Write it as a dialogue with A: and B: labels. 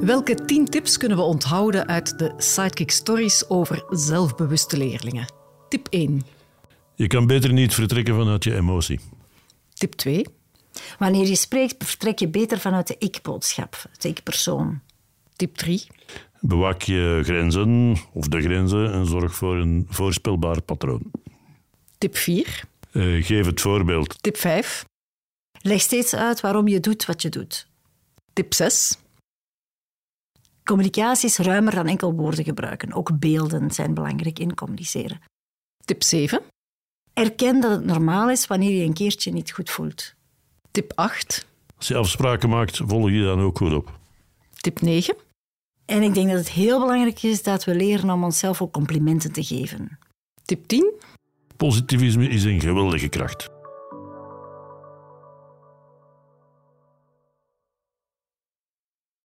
A: Welke tien tips kunnen we onthouden uit de Sidekick Stories over zelfbewuste leerlingen? Tip 1.
B: Je kan beter niet vertrekken vanuit je emotie.
A: Tip 2.
C: Wanneer je spreekt, vertrek je beter vanuit de ik-boodschap, de ik-persoon.
A: Tip 3.
B: Bewaak je grenzen of de grenzen en zorg voor een voorspelbaar patroon.
A: Tip 4.
B: Eh, geef het voorbeeld.
A: Tip 5.
C: Leg steeds uit waarom je doet wat je doet.
A: Tip 6.
C: Communicatie is ruimer dan enkel woorden gebruiken. Ook beelden zijn belangrijk in communiceren.
A: Tip 7.
C: Erken dat het normaal is wanneer je een keertje niet goed voelt.
A: Tip 8.
B: Als je afspraken maakt, volg je dan ook goed op.
A: Tip 9.
C: En ik denk dat het heel belangrijk is dat we leren om onszelf ook complimenten te geven.
A: Tip 10.
B: Positivisme is een geweldige kracht.